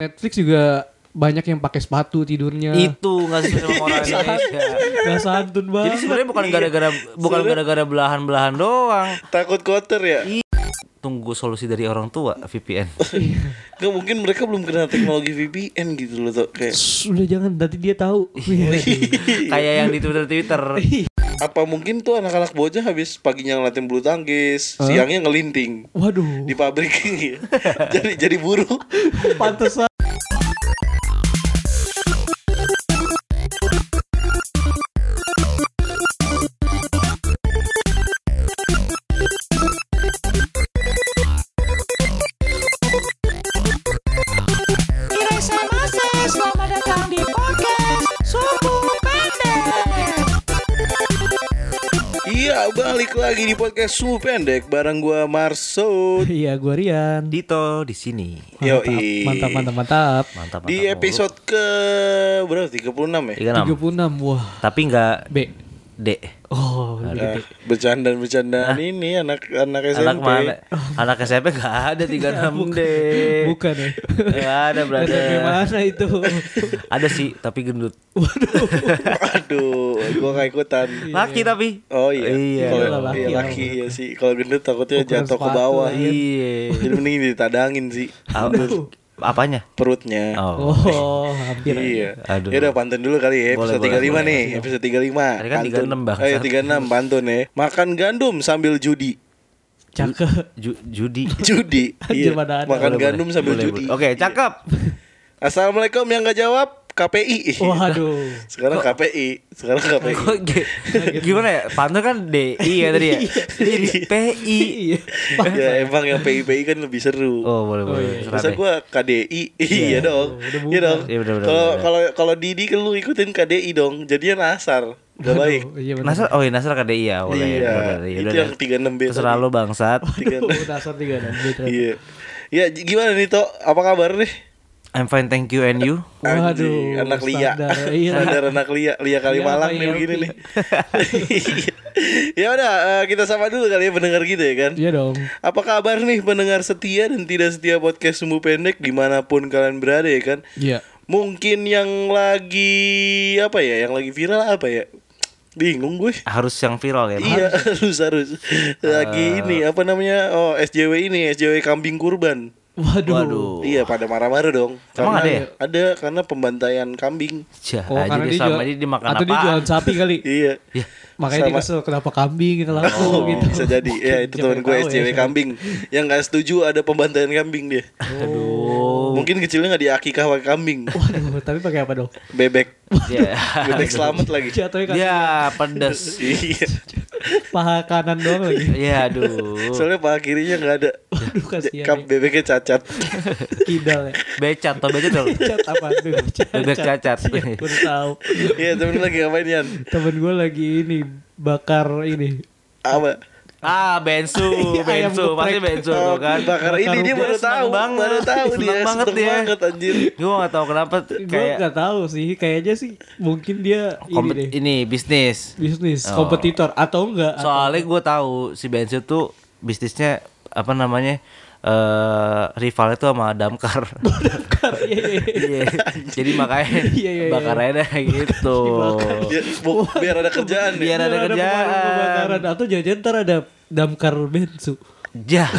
Netflix juga banyak yang pakai sepatu tidurnya. itu nggak sesuai sama orang Indonesia Gak santun jadi banget. sebenarnya bukan gara-gara bukan gara-gara belahan-belahan doang Takut kotor ya? tunggu solusi dari orang tua VPN Gak mungkin mereka belum kenal teknologi VPN gitu loh tuh kayak Sudah jangan nanti dia tahu. Iya. kayak yang di Twitter Twitter apa mungkin tuh anak-anak bocah habis paginya ngelatih bulu tangkis, siangnya ngelinting Waduh, di pabrik ya. jadi jadi buruh. pantesan. Iresa Mase, selamat datang di podcast Suku Pendek. Iya, balik lagi di podcast Sumu Pendek bareng gua Marsud. Iya, gua Rian. Dito di sini Yo, Mantap, mantap, mantap. mantap Di mantap, Iya, episode ke berapa? 36 ya? mulu. 36 36, wah. tapi nggak B. D Oh, Nah, bercandaan-bercandaan ini anak-anak SMP. anak mana anak SMP nggak ada 36 D bukan ya. nggak ada berarti SMP mana itu? ada sih tapi gendut Aduh, gua gak ikutan. laki tapi iya. Oh iya. iya Kalau Iyalah, laki, laki. iya, laki ya sih. Kalau gendut takutnya Ukuran jatuh ke sepatu, bawah. iya Jadi mending ditadangin sih Apa- apanya perutnya. oh Oh, hampir. Iya. Aduh. Ya udah pantun dulu kali ya Boleh, episode boleh, 35 boleh. nih, episode 35. Tadi kan 36 bang. Ayo 36 pantun ya. Makan gandum sambil judi. Cakep. Ju- judi Judi. Anjir, Iya. mana ada. Boleh, Makan gandum boleh. sambil Boleh, judi. boleh. Oke, cakep. Assalamualaikum yang gak jawab KPI. Iya. Waduh. Sekarang KPI, sekarang KPI. Kok ge- gimana ya? Pantun kan DI ya tadi ya. Iya. Jadi PI. Iya. ya emang yang PI-PI kan lebih seru. Oh, boleh boleh. iya. Serap Masa ya. gua KDI Iya dong Iya dong Iya, bener, bener, Kalau bener. kalau kalau Didi kan lu ikutin KDI dong Jadinya nasar Gak baik Waduh, Iya, benar. Nasar, oh iya Nasar kan DI ya awalnya. Iya, Bener, iya, itu udah, yang udah. 36 B Terserah tadi. lo bangsat. Waduh, Nasar 36. Iya Ya j- gimana nih Tok Apa kabar nih I'm fine, thank you and you. Anjing, Waduh, anak lia standar. Iya. standar anak lia lia Kalimalang Iya, nih iya, begini iya. nih ya udah eh, kita sama dulu kali ya pendengar kita ya kan Iya dong. apa kabar nih pendengar setia dan tidak setia podcast sumbu pendek dimanapun kalian berada ya kan Iya. mungkin yang lagi apa ya yang lagi viral apa ya bingung gue Harus yang viral ya. Bang? Iya harus harus lagi ini apa namanya oh SJW ini SJW kambing kurban Waduh. Waduh. Iya pada marah-marah dong. Emang ada ya? Ada karena pembantaian kambing. Jah, Oh, aja karena dia dia sama jual- dia dimakan atau dia apa? jualan sapi kali. Iya. Ya, Makanya dia Sama- kesel kenapa kambing laku Oh, gitu. bisa jadi. ya itu teman gue SJW kambing yang gak setuju ada pembantaian kambing dia. aduh. Mungkin kecilnya nggak diakikah pakai kambing, Waduh, tapi pakai apa dong? bebek, Ya. bebek selamat lagi. Jatuhnya kan Ya, pedes. Iya. paha kanan doang lagi. Ya, aduh. Soalnya paha kirinya nggak ada. Waduh, kasihan. ya. Kap bebeknya cacat. Kidal ya. Becat, tau becat dong. Cat apa tuh? Cat, Bebek cacat. Iya, baru tahu. Iya temen lagi ngapain Yan? Temen gue lagi ini bakar ini Apa? Ah, bensu, Iya, ayam bensu, pasti geprek. bensu tuh kan. bakar Iya, ini dia baru seneng tahu, banget. baru tahu Seneng dia banget seneng dia. Oh. banget anjir. Gue gak tau kenapa tuh Gue kayak nggak tahu sih Kayaknya sih mungkin dia ini kompet- deh ini, bisnis. Bisnis Oh. kompetitor Atau enggak Soalnya gue tahu si bensu tuh bisnisnya apa namanya? eh rivalnya tuh sama damkar. Bakar Iya iya iya. Iya. Jadi makanya Iya, iya, iya. bakar aja deh gitu. Ya, bu- biar ada kerjaan ya. Biar Iya, ada pemadam kerjaan. kebakaran. Atau jangan-jangan ntar ada damkar bensu Jah,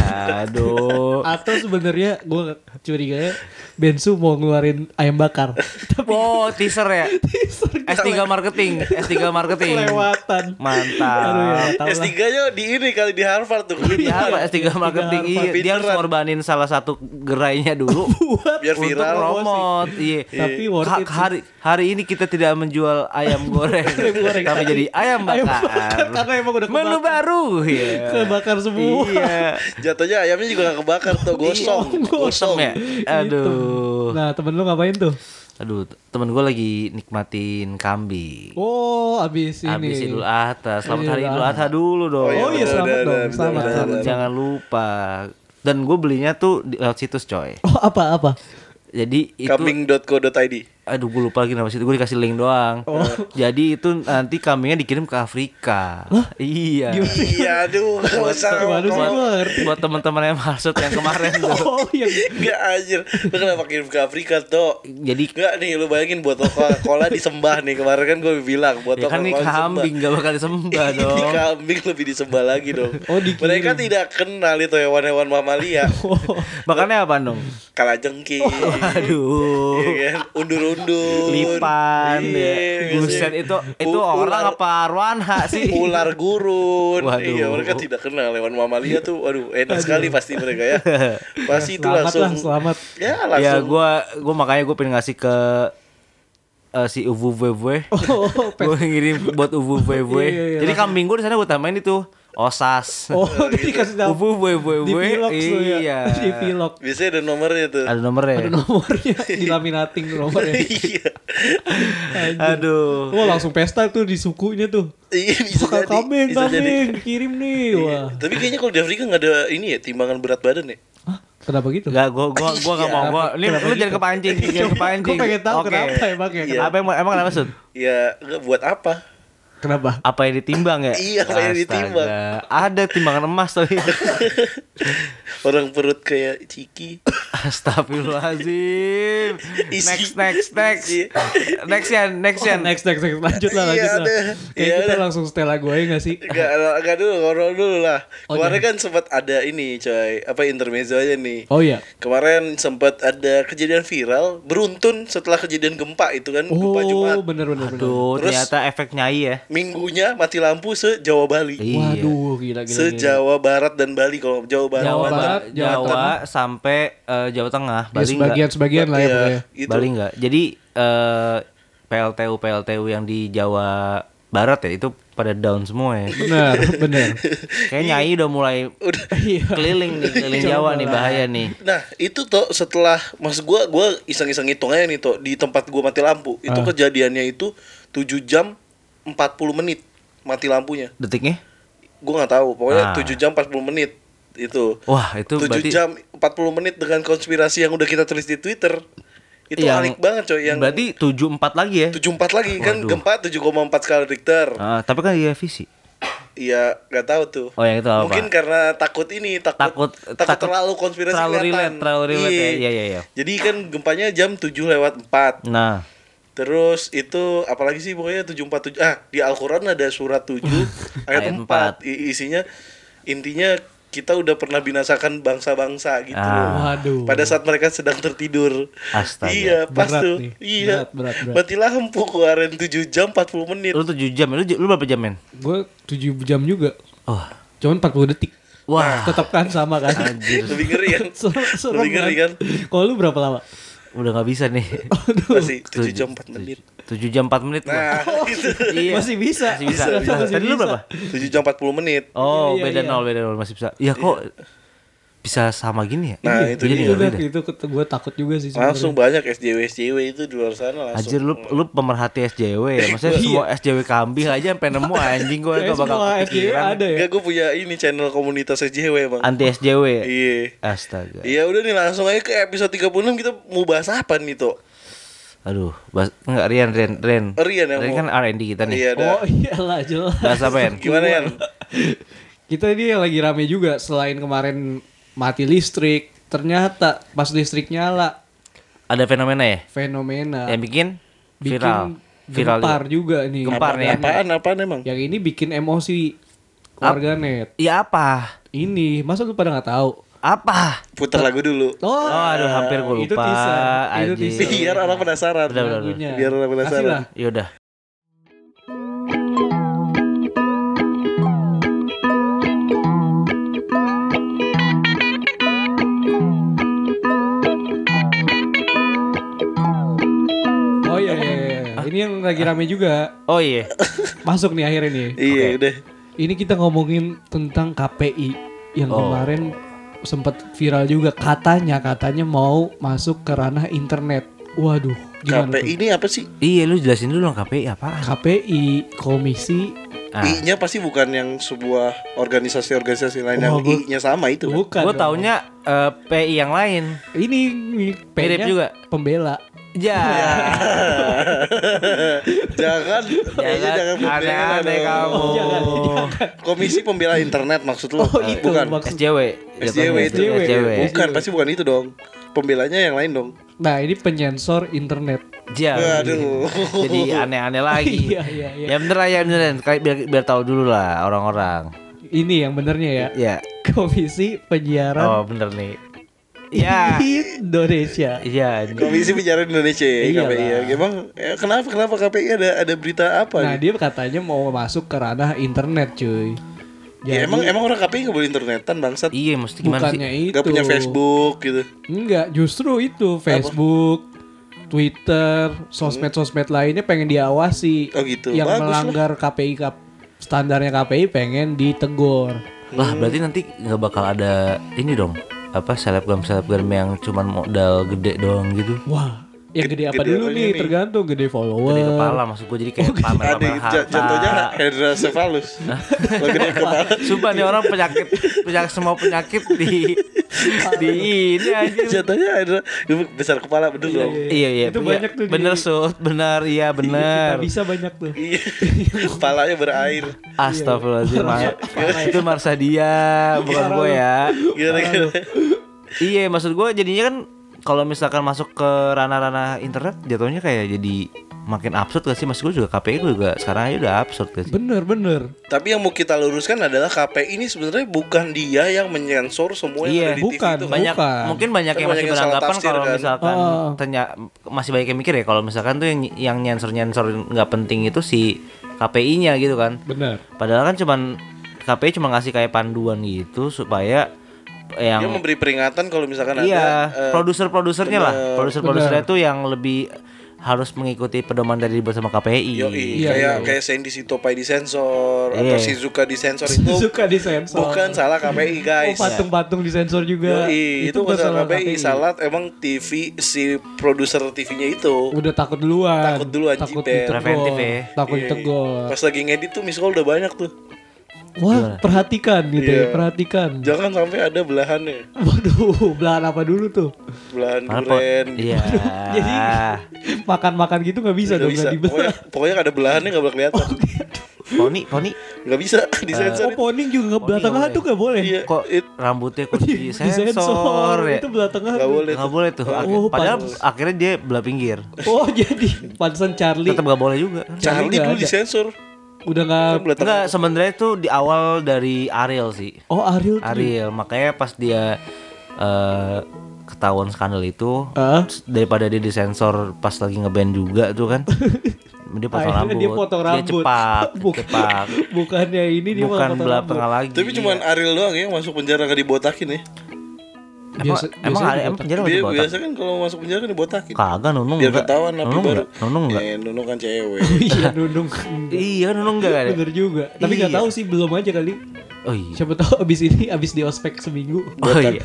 aduh. Atau sebenarnya gue curiganya ya, Bensu mau ngeluarin ayam bakar Tapi Wow, teaser ya. S3 marketing, S3 marketing. kelewatan Mantap. Aduh ya nggak tahu lah. S3-nya di ini kali di Harvard tuh. Di apa S3 marketing iya, dia harus Pinteran. ngorbanin salah satu gerainya dulu Buat Biar untuk viral. promote iya Tapi worth Ha- it sih. hari hari ini kita tidak menjual ayam goreng goreng. tapi jadi ayam Ayam bakar, bakar, karena emang udah menu kebakar. baru iya Kebakar semua. iya Jatuhnya ayamnya juga gak kebakar tuh gosong. Gosong ya gitu. aduh Nah temen lu ngapain tuh? aduh temen gue lagi nikmatin kambing Oh abis ini habis Idul Adha selamat Idul hari Idul Adha dulu dong Oh iya Udah, selamat dong udah, udah, Selamat Jangan- selamat jangan lupa dan gue belinya tuh di lewat situs coy Oh apa apa? jadi itu Kambing.co.id. aduh gue lupa lagi nama situ gue dikasih link doang Oh. jadi itu nanti kambingnya dikirim ke Afrika iya Iya, aduh, nggak usah Gimana sih ngomong. gue ngerti? buat teman-teman yang maksud yang kemarin tuh Oh yang Nggak anjir, lu kenapa kirim ke Afrika tuh? jadi Nggak nih, lu bayangin buat Coca-Cola disembah nih Kemarin kan gue bilang buat ya kan ini kambing gak bakal disembah Ini dong kambing lebih disembah lagi dong Oh, dikirim. Mereka tidak kenal itu hewan-hewan mamalia Oh. makannya apa dong Kalajengking Oh. aduh Iya kan? Undur-undur lipan ya. Iya, buset biasanya. itu itu U- orang ular- apa arwana sih Ular gurun Waduh. Iya mereka tidak kenal hewan mamalia tuh Aduh enak sekali pasti mereka ya Pasti itu selamat langsung lah selamat. Ya ya langsung gua gua makanya gua pengen ngasih ke eh, si Uvu Wewe Oh, oh, pet- gue ngirim buat Uvu Wewe Iya, iya, jadi langsung. kambing gua di sana gua tambahin itu osas oh jadi kasih tahu. Uvu Wewe Di vlog tuh ya. iya Di vlog. Biasanya ada nomornya tuh ada nomornya ya? Ada nomornya di laminating nomornya. Iya Anjir. aduh Wah langsung pesta tuh di sukunya tuh. Iya bisa Bakal jadi kambing, bisa jadi. kambing, kirim nih. Iya. Wah, Tapi kayaknya kalau di Afrika nggak ada ini ya timbangan berat badan ya. Hah, kenapa gitu? Enggak, gua gua gua enggak mau. Gua ini Kenapa lu gitu? jangan kepancing, jangan kepancing. Gua pengen tahu Oke. Iya. kenapa emang ya, kenapa? Apa emang emang kenapa Sud? Ya nggak buat apa? Kenapa? Apa yang ditimbang ya? Iya, apa yang Astaga. ditimbang. Ada timbangan emas tadi. Orang perut kayak ciki. Astagfirullahaladzim. Isi. Next next next. Isi. Next ya, next Oh, ya. Next, next, next. Lanjut lah, Iya, lanjut lah. ada. Kayak Iya, kita ada. langsung Stella gue aja gak sih? Gak, gak dulu, ngobrol dulu lah. Oh, Kemarin kan sempat ada ini, coy. Apa intermezzo aja nih. Oh iya. Kemarin sempat ada kejadian viral beruntun setelah kejadian gempa itu kan, gempa Jumat. Oh, bener, bener, bener. Aduh, Terus- ternyata efek nyai ya. Minggunya mati lampu se-Jawa Bali. Iya. Waduh, gila, gila. Ya, gila. Se-Jawa Barat dan Bali kalau Jawa Barat. Jawa Ba- Barat, Jawa Jawa sampai eh, Jawa Tengah, Ya, Bali sebagian, enggak. sebagian lah ya Iya, pokoknya. itu. Bali enggak. Jadi eh, PLTU PLTU yang di Jawa Barat ya itu pada down semua ya. Bener, bener. Kayaknya Nyai udah mulai Iya. keliling nih, keliling Jawa nih bahaya nih. Nah itu toh setelah mas gua gua iseng-iseng hitung aja nih toh di tempat gua mati lampu itu Ah. kejadiannya itu 7 jam 40 menit mati lampunya Detiknya? gua nggak tahu Ah. pokoknya 7 jam 40 menit itu Wah, itu 7 berarti jam 40 menit dengan konspirasi yang udah kita tulis di Twitter itu yang- alik banget coy yang berarti 74 lagi ya. 74 lagi kan Waduh. gempa 7,4 skala Richter Ah, tapi kan di revisi. Iya, nggak tahu tuh. Oh, yang itu apa? Mungkin karena takut ini, takut Takut- takut, takut- terlalu konspirasi terlalu relate, kelihatan. terlalu relate ya. Iya. Iya, iya, iya. Jadi kan gempanya jam 7 lewat 4. Nah, Terus itu apalagi sih pokoknya 747. Ah, di Al-Qur'an ada surat 7 ayat Ayat 4. I- Isinya intinya kita udah pernah binasakan bangsa-bangsa gitu loh. Ah. Waduh. Pada saat mereka sedang tertidur. Astaga. Iya, pas Berat tuh. nih. Berat, Iya. berat, berat. Mati lampu kemarin 7 jam 40 menit. lu 7 jam, lu, lu berapa jam, men? Gue 7 jam juga. Wah. Cuman 40 detik. Ah. Wah, Tetap kan sama kan? Lebih ngeri kan? Serem, serem Lebih ngeri kan? Kalau lu berapa lama? udah nggak bisa nih. Masih 7 jam 4 menit. 7 jam 4 menit. gua. Nah, gitu. Iya. Masih bisa. Masih bisa. Ternyata masih Tadi lu bisa. berapa? 7 jam 40 menit. Iya, Oh, iya, beda iya. nol, beda nol masih bisa. Ya kok bisa sama gini ya? Iya. Nah, itu Jadi dia. Itu ngeri kan, deh. itu gue takut juga sih. sebenarnya. Langsung banyak SJW SJW itu di luar sana langsung. Anjir lu lu pemerhati SJW ya. Maksudnya Iya. semua SJW kambing aja sampai nemu anjing gua Kayaknya gak bakal semua SJW kepikiran. ada ya. Enggak gue punya ini channel komunitas SJW emang. Anti SJW. ya? Iya. Astaga. Iya udah nih langsung aja ke episode 36 kita mau bahas apa nih Tok? Aduh, bahas, enggak Rian Rian Rian. Rian yang mau- kan R&D kita nih. Oh, Iya dah. Oh iyalah jelas. Bahas apa Rian? Gimana ya? Kita ini lagi rame juga selain kemarin mati listrik, ternyata pas listrik nyala Ada fenomena ya? fenomena Yang bikin viral. viral. gempar juga nih. Gempar nih. Ya. Apaan apaan emang? Yang ini bikin emosi warganet. Iya apa? Ini masa lu pada nggak tahu? Apa? Putar lagu dulu. Oh, Oh, iya. aduh hampir gue lupa. itu teaser, itu Anjing. teaser. Iya. Biar orang penasaran. Udah, udah, udah. lagunya. Biar orang penasaran. Kasih lah. Yaudah. Oh iya, iya, iya. Ah. ini yang lagi rame juga. Oh iya. Masuk nih akhirnya nih. Iya udah. Ini kita ngomongin tentang KPI yang Oh. kemarin sempat viral juga katanya katanya mau masuk ke ranah internet. Waduh, gimana tuh? KPI ini apa sih? iya lu jelasin dulu dong KPI apaan. KPI Komisi Ah. I-nya pasti bukan yang sebuah organisasi-organisasi lain yang Wah, gua- I-nya sama itu. kan? bukan. Gue dong. taunya eh, PI yang lain. ini nih, P-nya Mirip juga. pembela. Ya. jangan, Iya, kayaknya jangan Jangan pembela aneh-aneh dong. kamu. Komisi pembela internet maksud lu? Oh, itu bukan. maksud- SJW. SJW itu. SJW. SJW. Bukan, pasti bukan itu dong. Pembelanya yang lain dong. Nah ini penyensor internet. Ya. Waduh. Jadi aneh-aneh lagi. Iya, iya, iya. Ya bener lah, ya beneran. Kayak biar biar tahu dulu lah orang-orang. Ini yang benernya ya. Ya. Komisi Penyiaran Oh, bener nih. Ya. Indonesia. Iya. Komisi Penyiaran Indonesia Iyalah. KPI. Emang eh, kenapa kenapa KPI ada ada berita apa? gitu? Nah nih? dia katanya mau masuk ke ranah internet cuy. Ya, emang emang orang KPI nggak boleh internetan bangsat. Iya, mesti gimana Bukannya sih? itu. Nggak punya Facebook gitu. Enggak, justru itu Facebook, Twitter, sosmed-sosmed lainnya pengen diawasi. Hmm. Oh, gitu. Yang Bagus lah. melanggar KPI kap standarnya KPI pengen ditegur. Lah, berarti nanti nggak bakal ada ini dong. Apa selebgram selebgram yang cuman modal gede doang gitu. Wah, yang gede, apa gede dulu apanya nih? nih? Tergantung gede follower. Gede kepala maksud gue jadi kayak pamer Ada pamer j- jatuhnya harta. Hendra Cephalus. Lo gede kepala. Sumpah nih orang penyakit penyakit semua penyakit di di ini aja. Jatuhnya Hendra besar kepala bener dong. Iya iya. Itu punya- banyak tuh di- Bener sud, benar iya Kita benar. bisa banyak tuh. Iya. Kepalanya berair. Astagfirullahaladzim Mar- Itu Marsa dia Bukan gue ya Gimana gimana? Iya maksud gue jadinya kan kalau misalkan masuk ke ranah-ranah internet Jatuhnya kayak jadi Makin absurd gak sih Maksud gue juga KPI gue juga Sekarang aja udah absurd gak sih Bener bener. Tapi yang mau kita luruskan adalah KPI ini sebenarnya bukan dia yang menyensor semua yang Iya, ada di bukan. TV itu. kan? banyak bukan. mungkin banyak Kan yang masih banyak yang salah beranggapan tafsir, kalau kan? misalkan Oh. ternya- masih banyak yang mikir ya kalau misalkan tuh yang yang nyensor nyensor nggak penting itu si KPI-nya gitu kan Bener. padahal kan cuman KPI cuma ngasih kayak panduan gitu supaya Dia yang memberi peringatan kalau misalkan iya ada eh, produser-produsernya lah produser-produsernya tuh yang lebih harus mengikuti pedoman dari dibuat sama KPI Yoi, Iya, kayak iya. kayak Sandy Sitopai disensor atau Iya. Shizuka disensor itu Suka disensor. bukan salah Oh, KPI guys. patung-patung disensor juga. Yoi, itu bukan salah KPI, salah emang TV si produser TV-nya itu. Udah takut duluan. Takut duluan, Takut Jiper. ditegur. Preventif ya. Takut Iya. ditegur. Pas lagi ngedit tuh miss call udah banyak tuh. Wah, perhatikan gitu Iya. ya, perhatikan. Jangan sampai ada belahannya. Waduh, belahan apa dulu tuh? Belahan Padahal po- durian. iya Jadi makan-makan gitu nggak bisa Nggak dong, bisa. nggak dibelah. Pokoknya, pokoknya ada belahannya nggak boleh kelihatan. poni poni Nggak bisa disensor. Oh, poning juga nggak belah Poning tengah nggak tuh nggak boleh. Iya. kok it- rambutnya kok disensor ya Iya, Itu belah tengah. Nggak tuh. boleh. nggak boleh tuh Ak- Oh, padahal pantes. akhirnya dia belah pinggir Oh, jadi pantesan Charlie tetap nggak boleh juga Charlie nggak dulu ada. disensor. udah nggak. Kan belah tengah. Eh, Enggak, sebenarnya itu di awal dari Ariel sih. Oh, Ariel. tuh. Ariel, makanya pas dia eh, ketahuan skandal itu Ah. daripada dia disensor pas lagi ngeband juga tuh kan. dia potong Akhirnya rambut. dia potong rambut. cepak, Buk- cepak. Bukannya ini dia malah Bukan potong belah rambut. tengah lagi. Iya. Tapi cuman Ariel doang ya yang masuk penjara gak dibotakin ya. emang, Biasa- emang, biasanya dia ada- emang penjara masih Dia botak. biasa kan kalau masuk penjara kan dibotakin. Kagak nunung Biar enggak. ketahuan napi Nunung baru. enggak. Nunung enggak. Eh, Nunung kan cewek. Iya, Nunung. Iya, nunung enggak ada. Bener juga. Tapi nggak Iya. tahu sih belum aja kali. Oh iya. Siapa tahu abis ini abis di ospek seminggu. Oh iya.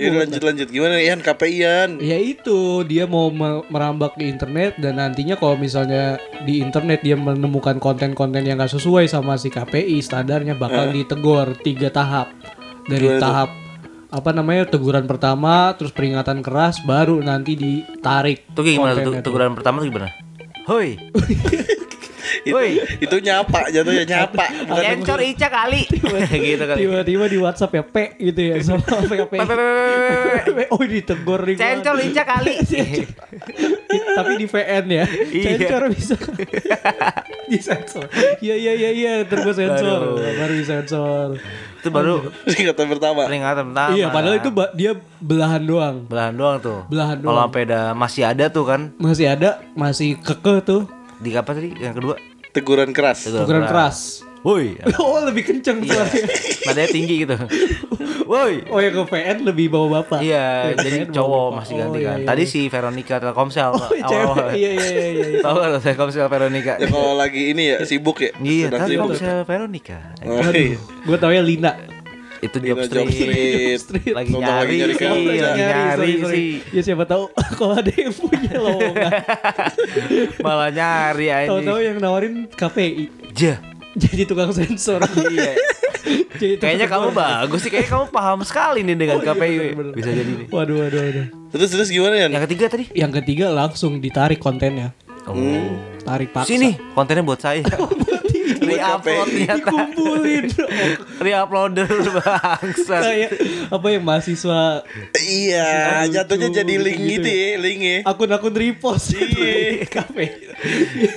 Ya lanjut lanjut gimana Ian KPI Ian? Ya itu dia mau me- merambak di internet dan nantinya kalau misalnya di internet dia menemukan konten-konten yang gak sesuai sama si KPI standarnya bakal ditegur tiga tahap dari Eh. Gimana tuh? tahap apa namanya teguran pertama terus peringatan keras baru nanti ditarik Tuh kayak gimana tuh kontennya tuh. teguran pertama tuh gimana? Hoi. Itu, Woi. Iya. itu nyapa jatuhnya nyapa. Bukan Lencor Ica kali. gitu kali. tiba-tiba di WhatsApp ya P gitu ya sama Pe- pe- KPI pe- pe- pe- oh ditegur nih gua. Cencor Ica kali. tapi di VN ya Iya. sensor bisa di sensor iya iya iya iya terus sensor baru di sensor itu baru kata pertama. peringatan pertama. iya padahal itu ba- dia belahan doang belahan doang tuh. Belahan Kalau sampai ada masih ada tuh kan masih ada masih kekeh tuh di apa tadi yang kedua? Teguran keras. Teguran ukuran keras Woi. oh lebih kenceng Iya. suaranya Nadanya tinggi gitu. Woi. oh yang ke VN lebih bawa bapak Iya, Yang ke jadi VN bawa cowok bapak. masih Oh, ganti iya, kan. iya. Tadi si Veronica Telkomsel oh, iya, cewek iya iya iya, iya, iya. Tahu kan Telkomsel Veronica? Ya kalau lagi ini ya sibuk ya. Iya, sedang sibuk. Telkomsel Veronica. Oh, iya. gue tau ya Lina Itu Lina job Job street. Street. Street. Lagi Nonton lagi nyari Iya. nyari sih, kamu. lagi nyari sorry, sorry. sih. Ya siapa tahu kalau ada yang punya lowongan. Malah nyari Tahu-tahu anjing. yang nawarin KPI. Jah. jadi tukang sensor Iya. Cerita Kayaknya kedua. kamu bagus sih, kayaknya kamu paham sekali nih dengan KPI. Bisa jadi nih. Waduh, waduh, waduh. Terus terus gimana ya? Yang ketiga tadi. Yang ketiga langsung ditarik kontennya. Oh. Tarik paksa. Sini kontennya buat saya. Reupload ternyata. Dikumpulin. Reuploader bangsat. Kayak apa yang mahasiswa Iya, Aduh, jatuhnya lucu, jadi link gitu gitu, ya. ya, link ya. akun-akun repost di Iya. kafe.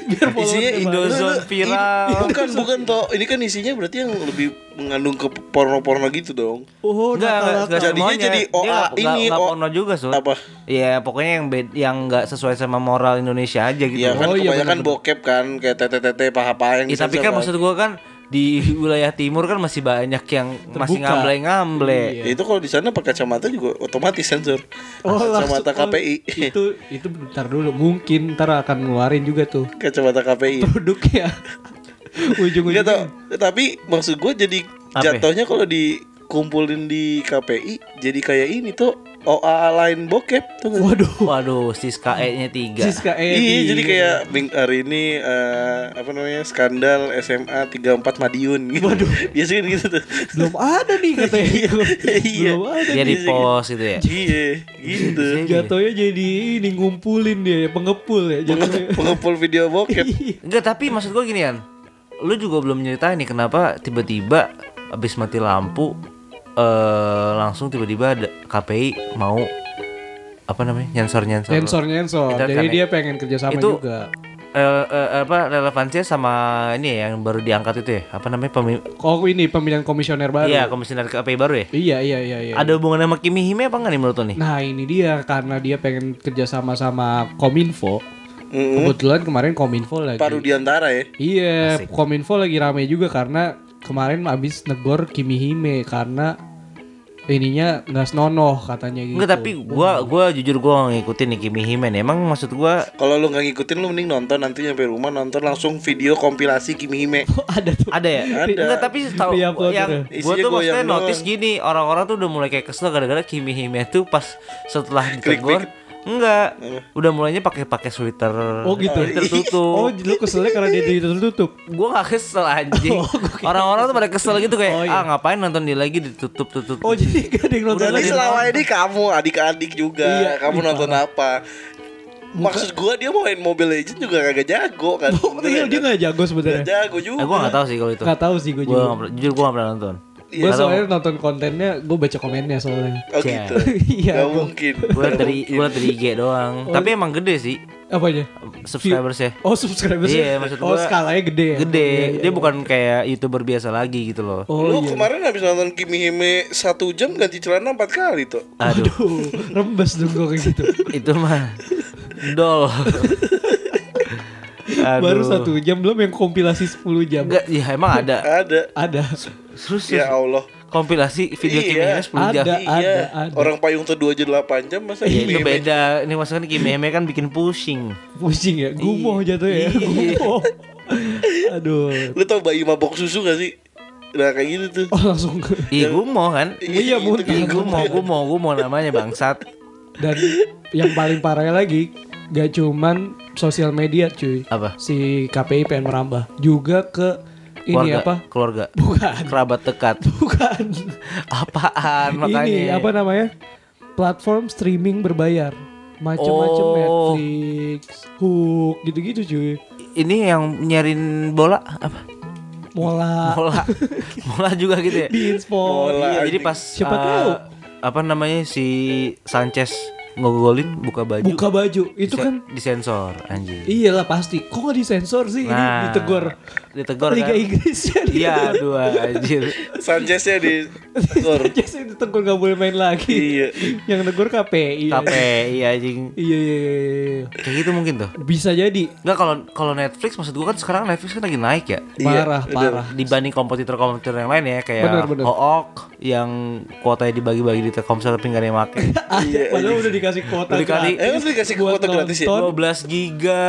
Biar Isinya followernya Indo- banyak. Ozon Lu- lu- viral. ini- bukan bukan toh. Ini kan isinya berarti yang lebih mengandung ke porno-porno gitu dong. Oh, Enggak, enggak, nakal-nakal. enggak Jadinya semuanya. jadi Dia OA enggak- enggak- ini, enggak O- porno juga, Sul. Apa? Ya, pokoknya yang bed, yang enggak sesuai sama moral Indonesia aja gitu. Iya kan Oh, iya, kebanyakan bener-bener. bokep kan kayak tete-tete paha-paha yang Ya, tapi disensor kan kan. maksud gua kan di wilayah timur kan masih banyak yang masih Terbuka. ngamble-ngamble. Iya. Ya, itu kalau di sana pakai kacamata juga otomatis sensor. Oh, langsung- kacamata KPI. oh, itu itu bentar dulu. Mungkin ntar akan ngeluarin juga tuh kacamata KPI. produknya. Enggak tau, Ujung-ujungnya. tapi maksud gue jadi Apa? jatuhnya kalau dikumpulin di KPI jadi kayak ini tuh OA lain bokep tuh. nggak sih? Waduh. Waduh, Siska E-nya 3. Siska Iya, Edi. jadi kayak ming hari ini eh, apa namanya skandal SMA 34 Madiun gitu. Waduh. Biasanya kan gitu tuh. belum ada nih katanya. Iya. belum ada. Dia di Iya, pos gitu ya. Iya, gitu. Jatuhnya jadi ini ngumpulin dia ya, pengepul ya jatuhnya. Penge- Pengepul video bokep. Iya. Enggak, tapi maksud gua ginian. Lu juga belum nyeritain nih kenapa tiba-tiba abis mati lampu eh langsung tiba-tiba ada KPI mau apa namanya? nyensor-nyensor. Sensor sensor. Kita Jadi kan- dia pengen kerjasama Itu- juga. Eh, eh, apa relevansinya sama ini ya yang baru diangkat itu ya? Apa namanya? Pemi- Kok Oh, ini pemilihan komisioner baru? Iya, komisioner KPI baru ya? Iya iya iya. iya. Ada hubungannya sama Kimi Hime apa enggak nih menurut lu nih? Nah ini dia karena dia pengen kerjasama sama Kominfo. Kebetulan kemarin Kominfo lagi. Paru diantara ya. Iya, Kominfo lagi rame juga karena kemarin abis negor Kimihime karena ininya nggak senonoh katanya gitu. Enggak, tapi gua gua jujur gua nggak ngikutin nih Kimi Hime nih. Emang maksud gua Kalau lu nggak ngikutin lu mending nonton nanti nyampe rumah nonton langsung video kompilasi Kimi Hime. Kok Oh, ada tuh. ada ya? Ada. Enggak, tapi tahu Di-upload yang ada. gua Isinya tuh maksudnya goyang notice doang. gini, orang-orang tuh udah mulai kayak kesel gara-gara Kimi Hime tuh pas setelah ditegur Klik-klik. Iya. Enggak, udah mulainya pakai-pakai sweater Oh gitu. Oh, tertutup. lu keselnya karena dia dia tertutup. gue gak kesel anjing Orang-orang tuh pada kesel gitu Oh, kayak iya. Ah ngapain nonton dia lagi ditutup-tutup Oh jadi gak ada yang nonton Berarti lagi. selama ini kamu adik-adik juga. Iya, kamu ih, nonton apa? Maksud gua dia mau main Mobile Legends juga kagak jago kan. Oh, Iya dia gak jago Nggak sebenarnya. jago Eh juga. gue gak tau sih kalau itu Gak tahu sih gue Gua juga. nggak pernah- Jujur gue gak pernah nonton Gue soalnya nonton kontennya, gue baca komennya soalnya. Oh gitu. Iya, Nggak gua- mungkin. Gue dari, gua dari IG doang Oh. Tapi emang gede sih Apanya? subscribers ya Oh subscribers Iya, maksud Oh gua- skalanya gede ya? Gede Iya, iya, Dia iya. bukan kayak youtuber biasa lagi gitu loh Oh Lu iya kemarin habis nonton Kimi Hime satu jam ganti celana empat kali tuh. Aduh Aduh Rembes dong gue kayak gitu itu mah Dol Aduh. Baru satu jam Belum yang kompilasi 10 jam Enggak, ya emang ada Ada. Ada Terus Ya Allah. kompilasi video Iya. kimia 10 jam Ada, iya. ada. Iya, Orang payung tuh 2 jam 8 jam masa Ya, itu Kimi Hime? beda. Ini maksudnya Kimi Hime kan bikin pusing. Pusing ya Gumoh Iya. jatuh ya Iya. Gumoh Aduh Lu tau bayi mabok susu gak sih? Nah kayak gitu tuh. Oh langsung ke- Iya, gue mau kan? Iya, Itu muntah. Iya, kan. gue mau, gue mau, gue mau namanya bangsat. Dan Yang paling parahnya lagi Gak cuman Sosial media cuy Apa? Si KPI pengen merambah Juga ke Ini Keluarga, apa Keluarga. Bukan Kerabat dekat. Bukan Apaan makanya? Ini apa namanya Platform streaming berbayar Macem-macem Oh. Netflix Hook Gitu-gitu cuy Ini yang nyarin bola apa? Mola Bola. bola juga gitu ya. Ah. di Inspor. Bola, Iya, jadi anjing. pas Siapa eh, tahu. apa namanya si Sanchez ngegolin buka baju. Buka baju itu disen- kan disensor anjing. iyalah pasti. Kok nggak disensor sih ini Nah, ditegor. Ditegor Liga kan. Inggris ya Iya, dua anjir. Sanchez-nya di Gor. Sanchez itu tegur nggak boleh main lagi. Iya. Yang negor KPI. KPI anjing. Iya, iya, iya, iya. Kayak gitu mungkin tuh. Bisa jadi Enggak kalau kalau Netflix maksud gua kan sekarang Netflix kan lagi naik ya. parah parah. Dibanding kompetitor-kompetitor yang lain ya kayak Bener, bener. Hook yang kuotanya dibagi-bagi di Telkomsel tapi nggak ada yang make. Ada, padahal udah dikasih kuota Iya, Udah dikali- Eh, udah dikasih buat kuota gratis ya? nonton. 12 giga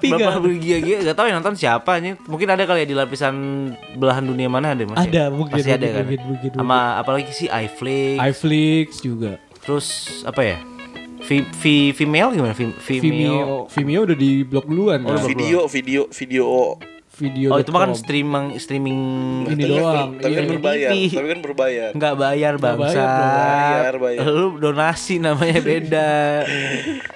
Tapi berapa nggak- giga giga nggak tahu yang nonton siapa nih mungkin ada kali ya di lapisan belahan dunia mana ada masih Ada, mungkin, masih ada mungkin, kan mungkin, mungkin, sama apalagi sih iFlix iFlix juga. terus apa ya v, v, Vimeo gimana v, Vimeo Vimeo, Vimeo udah di blok duluan. kan? Video, video, video video. Oh itu mah kan streaming streaming Ini Tapi kan ber- doang, Tapi iya. kan berbayar. Ini. Tapi kan berbayar. nggak bayar Nggak bangsa. bayar, bayar, bayar. Lu donasi namanya beda.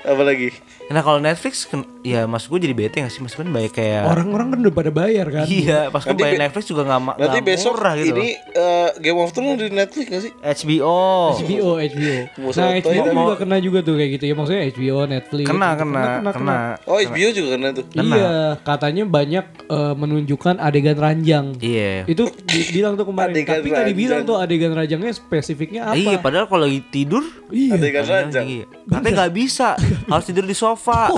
Apa lagi? nah kalau Netflix ken- ya mas gue jadi bete nggak sih mas kan banyak kayak Orang-orang kan udah pada bayar kan. iya pas gue Nanti bayar be- Netflix juga nggak ma- Nanti nggak besok murah gitu. ini eh, Game of Thrones di Netflix gak sih? HBO. HBO, HBO. Mau Nah, sotoy HBO dah. juga kena juga tuh kayak gitu ya. Maksudnya HBO, Netflix. Kena gitu. kena kena. Oh HBO juga kena tuh. Kena. Iya, katanya banyak eh, menunjukkan adegan ranjang. Iya. Itu dibilang tuh kemarin. Adegan Tapi nggak dibilang ranjang. tuh adegan ranjangnya spesifiknya apa. Iya padahal kalau lagi tidur Iya. Adegan ranjang. Iya. Katanya nggak bisa, harus tidur di sofa.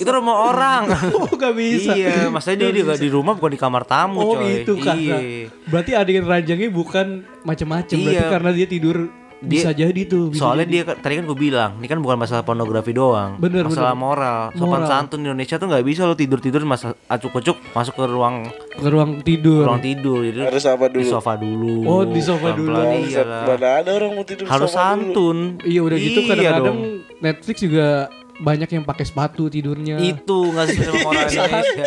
itu rumah orang. Oh, nggak bisa. Iya, maksudnya dia nggak di rumah bukan di kamar tamu, Oh coy. itu kan. Iya. Berarti adegan ranjangnya bukan macam-macam. Berarti Iya. karena dia tidur bisa Dia- jadi tuh. bisa Soalnya Gitu, jadi. dia tadi kan gue bilang, ini kan bukan masalah pornografi doang, Bener, masalah bener. moral, sopan Moral. santun di Indonesia tuh nggak bisa lo tidur tidur masa acuk-acuk masuk ke ruang ke ruang tidur. ruang tidur, jadi Harus apa di dulu? sofa dulu. Oh, di sofa dulu. Pelan-pelan, iya lah. Mana ada orang mau tidur Harus sama dulu. santun. Iya udah gitu Iya kadang-kadang dong. Netflix juga banyak yang pakai sepatu tidurnya. itu nggak sesuai sama Iya. orang Indonesia.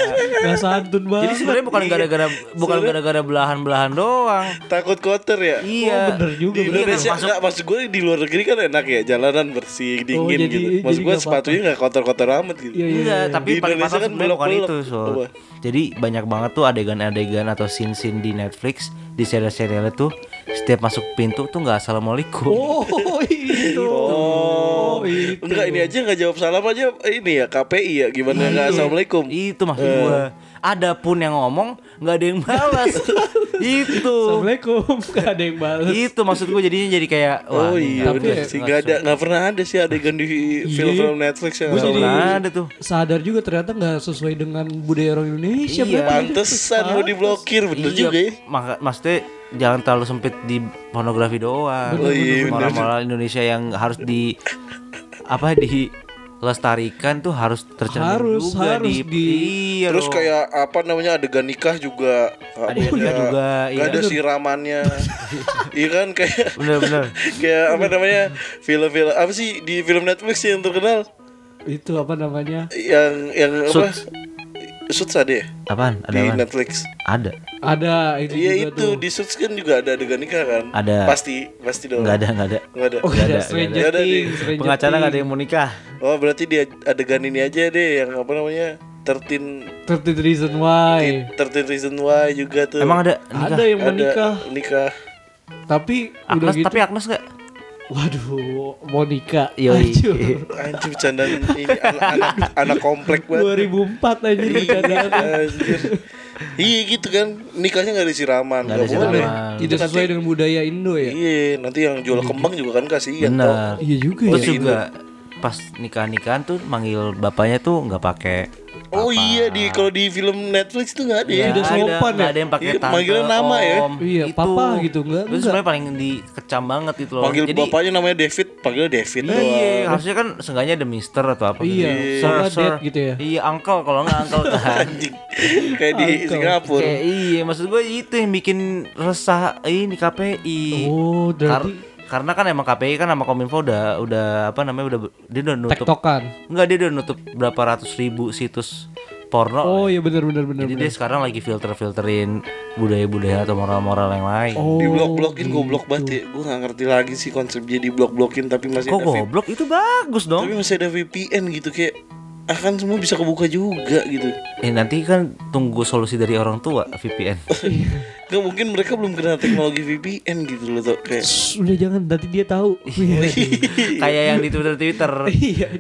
Gak santun banget. Jadi sebenarnya Iya. bukan gara-gara bukan gara-gara belahan-belahan doang. Takut kotor ya? Oh, Iya. bener juga. Di bener. Indonesia masuk- enggak maksud gue di luar negeri kan enak ya jalanan bersih dingin Oh, jadi- gitu. jadi Maksud gue nggak apa-apa. sepatunya nggak kotor-kotor amat gitu. Iya, iya. Enggak, tapi Di paling Indonesia masalah kan sebenarnya bukan belok-belok. itu, Sol. Apa? Jadi banyak banget tuh adegan-adegan atau scene-scene di Netflix di serial-serial itu setiap masuk pintu tuh nggak assalamualaikum. Oh itu. Oh, itu. enggak ini aja nggak jawab salam aja ini ya KPI ya gimana Iya, nggak assalamualaikum Eh. Itu maksud gua. Ada pun yang ngomong nggak ada yang balas. itu. Assalamualaikum. Gak ada yang balas. itu maksud gua jadinya jadi kayak wah, Oh ini iya nggak- bener Tapi- Iya. sih nggak ada nggak pernah ada sih adegan di film-film Netflix yang Gua nggak jadi- assalamualaikum. pernah ada tuh. Sadar juga ternyata nggak sesuai dengan budaya orang Indonesia. Iya. berarti. Pantesan mau diblokir bener Iya, juga ya. maka- maksudnya jangan terlalu sempit di pornografi doang. Bener, Oh iya, bener. Moral-moral Indonesia yang harus di apa di lestarikan tuh harus tercermin Harus, juga harus di, di- iya Terus dong. kayak apa namanya adegan nikah juga nggak Adegan nikah ada- juga, nggak iya. ada siramannya. Iya kan kayak bener-bener kayak apa namanya film-film apa sih di film Netflix yang terkenal Itu apa namanya? yang yang apa Suits. Suits ada ya apaan ada di apaan? Netflix ada Ada itu iya juga itu tuh. di Suits kan juga ada adegan nikah kan Ada. pasti pasti dong nggak ada nggak ada nggak ada Oh, Nggak ada, ada, nggak Stranger ada. Things, Stranger pengacara nggak ada Things. yang mau nikah oh berarti dia adegan ini aja deh yang apa namanya 13 13 Reason Why. 13 Reason Why juga tuh emang ada nikah Ada yang menikah, Iya. ada nikah tapi udah Agnes gitu. tapi Agnes nggak Waduh, Monica. Yoi. Iya. Hancur. anjir bercandaan ini anak anak, anak komplek banget 2004 aja Iya. Anjir. Iya gitu kan nikahnya nggak ada siraman Nggak ada Nggak boleh. siraman. Tidak sesuai dengan budaya Indo ya. Iya nanti yang jual kembang juga kan kasihan bener Tok. Iya juga terus ya. Oh, juga pas nikah nikahan tuh manggil bapaknya tuh nggak pakai Oh iya di kalau di film Netflix tuh nggak ada ya. Tidak Iya, Nggak sopan ya? nggak ada yang pakai Iya, tante, manggilnya nama ya? om, Iya, papa gitu, nggak- Itu nggak. sebenarnya paling dikecam banget gitu loh. Panggil Jadi, bapaknya gitu namanya David, panggil David doang. Iya, harusnya kan seenggaknya ada mister atau apa Iya, soalnya dad gitu ya. Iya, uncle kalau nggak uncle kan. Anjing. Kayak di Uncle. Singapura. Kayak iya, maksud gue itu yang bikin resah ini KPI. Oh, Kar- berarti karena kan emang KPI kan sama Kominfo udah udah apa namanya udah dia udah nutup tektokan. enggak dia udah nutup berapa ratus ribu situs porno Oh iya benar benar benar. jadi benar. dia sekarang lagi filter-filterin budaya-budaya atau moral-moral yang lain Oh, Di blok-blokin goblok banget ya. Gue gak ngerti lagi sih konsep dia di blok-blokin tapi masih Kok ada VPN. goblok itu bagus dong. Tapi masih ada VPN gitu kayak akan semua bisa kebuka juga gitu. Eh nanti kan tunggu solusi dari orang tua VPN. Iya. Gak mungkin mereka belum kenal teknologi VPN gitu loh tuh kayak. Shh, udah jangan nanti dia tahu. Iya. Kayak yang di Twitter Twitter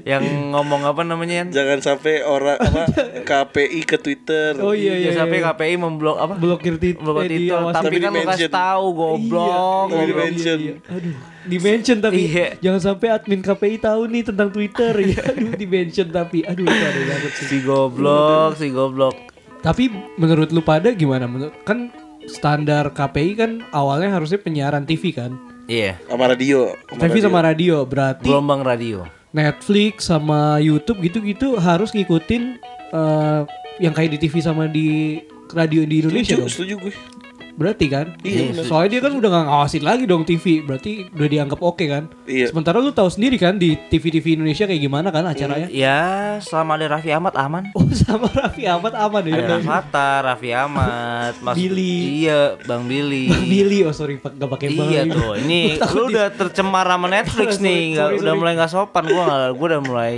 yang ngomong apa namanya? Yan? Iya, Jangan sampai orang apa KPI ke Twitter. oh iya iya. Ya, sampai iya. KPI memblok apa? blokir tit Memblok eh, Twitter. diawasin. Tapi Tapi kan lu kasih di-mention. tahu goblok. Iya, iya, goblok. di-mention. iya, iya. Aduh, di mention tapi Iya. jangan sampai admin KPI tahu nih tentang Twitter. ya. Aduh, di mention tapi aduh itu ada banget sih. Si goblok, si goblok. Tapi menurut lu pada gimana? Menurut kan standar KPI kan awalnya harusnya penyiaran TV kan. Iya. Sama radio. Sama TV sama radio berarti Gelombang radio. Netflix sama YouTube gitu-gitu harus ngikutin eh, yang kayak di TV sama di radio di Indonesia Setuju, dong. setuju gue. Berarti kan? Iya, Iya. Soalnya dia kan udah nggak ngawasin lagi dong TV, berarti udah dianggap oke kan? Iya. Sementara lu tahu sendiri kan di TV-TV Indonesia kayak gimana kan acaranya? Ya, selama ada Raffi Ahmad aman. Oh sama Raffi Ahmad aman ya. Ada Rahmata, Raffi Ahmad, Mas Billy. Iya, Bang Billy. Bang Billy, oh sorry pak, gak pakai Bang. Iya Billy. tuh, ini Gua takut lu di- udah tercemar sama Netflix Sorry, nih, nggak sorry, udah sorry. mulai nggak sopan. Gua nggak, gua udah mulai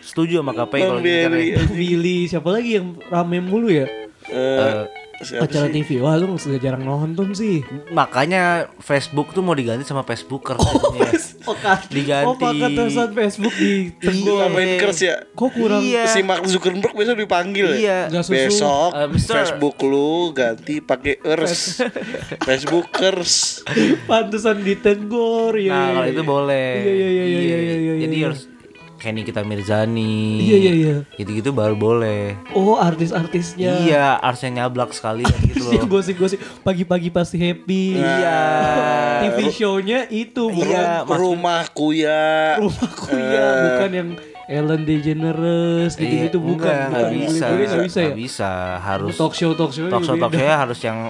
setuju sama KPI kalau Bang gini Billy. caranya. Bang Billy, siapa lagi yang rame mulu ya? Eh, siapa Acara sih? TV, wah lu sudah jarang nonton sih. Makanya Facebook tuh mau diganti sama Facebooker. jadinya. Oh, kan. Iya. Diganti. Oh, pakai terusan Facebook di Gue tegur. ngamain kers ya Kok kurang? Iya. Si Mark Zuckerberg besok dipanggil Iya. ya Nggak susu. Besok Eh, Mister. Facebook lu ganti pakai ers Facebookers Pantesan ditegur ya. Nah, kalau itu boleh. Iya, iya, iya, iya, iya, iya, Jadi iya. harus kayak Nikita Mirzani. Iya, iya, iya. Gitu-gitu baru boleh. Oh, artis-artisnya. Iya, harusnya nyablak sekali gitu Sih loh. gosip-gosip pagi-pagi pasti happy. Iya. TV show-nya itu bukan Iya, Mas- Rumahku ya rumahku ya, bukan yang Ellen DeGeneres gitu-gitu Iya, bukan. enggak, bukan nggak bisa. Boleh nggak bisa ya. Nggak bisa, harus Talk show talk show talk show talk show harus yang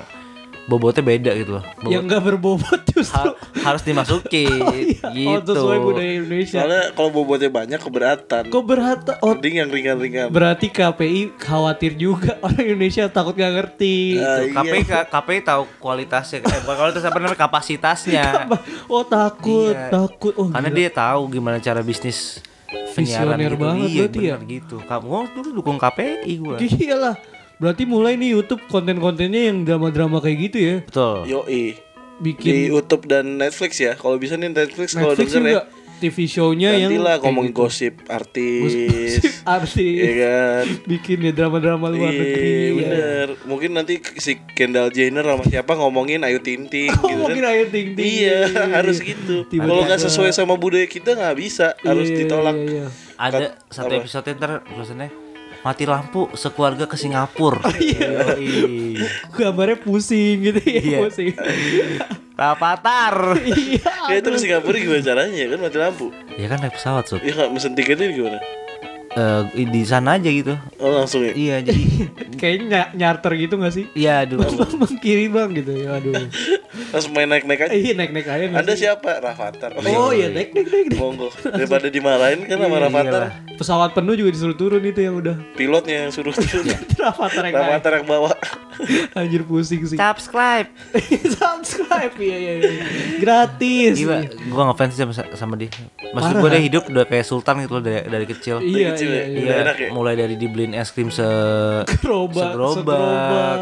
bobotnya beda gitu loh. Bobot- ya. yang nggak berbobot ha- justru. harus dimasukin Oh, eh, gitu. sesuai budaya Indonesia. Soalnya kalau bobotnya banyak keberatan Kok berhata oh, Mending yang ringan-ringan berarti KPI khawatir juga orang Indonesia takut nggak ngerti. Ah, iya. KPI ka- KPI tahu kualitasnya, eh, bukan kualitas apa namanya kapasitasnya. Oh takut, Iya. takut. Oh, Karena gila. dia tahu gimana cara bisnis penyiaran Visioner gitu. banget iya, berarti ya. bener gitu. Kamu gua dulu dukung KPI gua. Iya lah. Berarti mulai nih YouTube konten-kontennya yang drama-drama kayak gitu ya. Betul. Yoi Di Bikin YouTube dan Netflix ya Kalau bisa nih Netflix kalau Netflix denger ya juga TV show-nya yang Gantilah kayak ngomongin gitu. gosip artis Gosip artis. Iya kan Bikin ya drama-drama luar negeri. Iya ya. bener Mungkin nanti si Kendall Jenner sama siapa ngomongin Ayu Ting Ting Oh, gitu kan. mungkin Ayu Ting Ting. Iya harus gitu Tiba-tiba. Kalau nggak sesuai sama budaya kita nggak bisa Harus Iya, ditolak iya, iya. Ada satu episode ntar tulisannya mati lampu sekeluarga ke Singapura. Oh, Iya. Gambarnya pusing gitu ya, Iya. pusing. Rapatar. Iya. Ya itu ke Singapura gimana caranya kan mati lampu ya kan naik pesawat, Sob. Iya nggak mesen tiketnya gimana Eh, di sana aja gitu. Oh langsung ya Iya, jadi Kayaknya ny- nyarter gitu gak sih? Iya dulu. Bang, bang, bang, kiri bang gitu ya aduh Langsung main naik-naik aja iya naik naik aja nggak Anda sih? siapa? Rafathar oh iya naik naik naik naik. Monggo Daripada dimarahin kan sama Rafathar Iyalah. pesawat penuh juga disuruh turun itu yang udah Pilotnya yang suruh Rafathar yang naik Rafathar yang bawa Iya, anjir pusing sih Subscribe. subscribe iya iya iya gratis Gila, gua ngefans sama, sama dia. Maksud Parah. gua dia hidup udah kayak sultan gitu loh dari, dari kecil. iya kecil iya ya. iya kan? Udah Iya, enak ya? mulai dari dibeliin es krim se gerobak segerobak.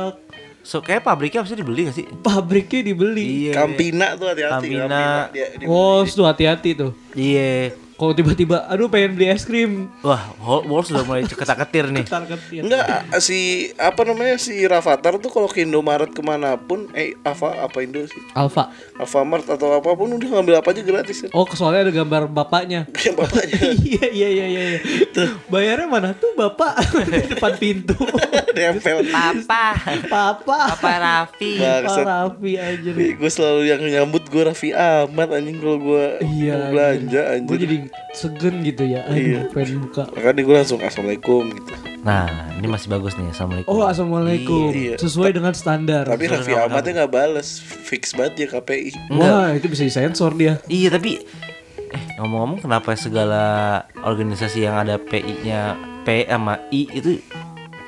So kayak pabriknya harusnya dibeli gak sih? pabriknya dibeli Iya. Kampina tuh hati-hati Kampina. Dia, dia- Walls tuh hati-hati tuh Iya. kalau tiba-tiba aduh pengen beli es krim Wah, Wal- Walls udah mulai ketak-ketir nih. ntar ketir Enggak, si apa namanya si Rafathar tuh kalau ke Indomaret kemanapun, eh apa apa Indo sih, Alfa Alfamart atau apapun udah ngambil apa aja gratis ya. oh soalnya ada gambar bapaknya Yang bapaknya iya iya iya iya iya. bayarnya mana tuh bapak Di depan pintu nempel. Papa, papa Papa Raffi. Pak Bangsat. Raffi aja Ih, Gue selalu yang nyambut gue Raffi Ahmad anjing kalau gue iya mau belanja Iya. gue anjing. jadi segen gitu ya aduh pengen buka Makanya gue langsung assalamualaikum gitu. Nah, ini masih bagus nih. Assalamualaikum. oh assalamualaikum Iya. sesuai dengan standar Tapi Raffi Ahmadnya nggak balas, fix banget dia KPI. wah itu bisa disensor dia Iya, tapi eh ngomong-ngomong kenapa segala organisasi yang ada PI-nya P sama I itu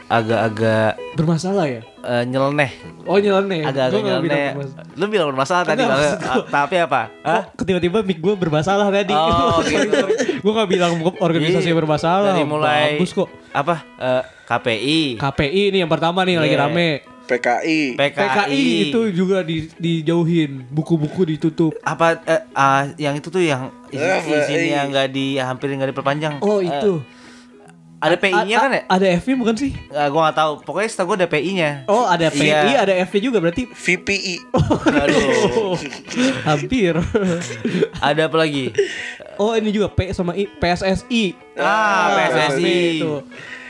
agak-agak bermasalah ya eh, nyeleneh oh nyeleneh agak-agak Gua nggak bilang nyeleneh bermasalah. lu bilang bermasalah tadi Enggak, maksud- maksud ah, tapi apa Hah? Kok tiba-tiba mic gue bermasalah tadi Oh, gitu. gue gak bilang organisasi Jadi, bermasalah Iya. dari mulai bagus kok apa eh, KPI KPI ini yang pertama nih lagi Iya. rame PKI. PKI, PKI itu juga di, dijauhin buku-buku ditutup apa eh, ah, yang itu tuh yang izin, Eh, izin PI. yang nggak di hampir nggak diperpanjang oh Eh, itu ada PI-nya A- kan ya a- ada F-nya bukan sih Gak, gue gak tahu. Pokoknya setahu gue ada PI-nya. Oh ada PI, Iya. ada FP juga berarti VPI. Oh, Aduh. hampir. ada apa lagi? Oh ini juga P sama I, PSSI. Ah, PSSI. Itu.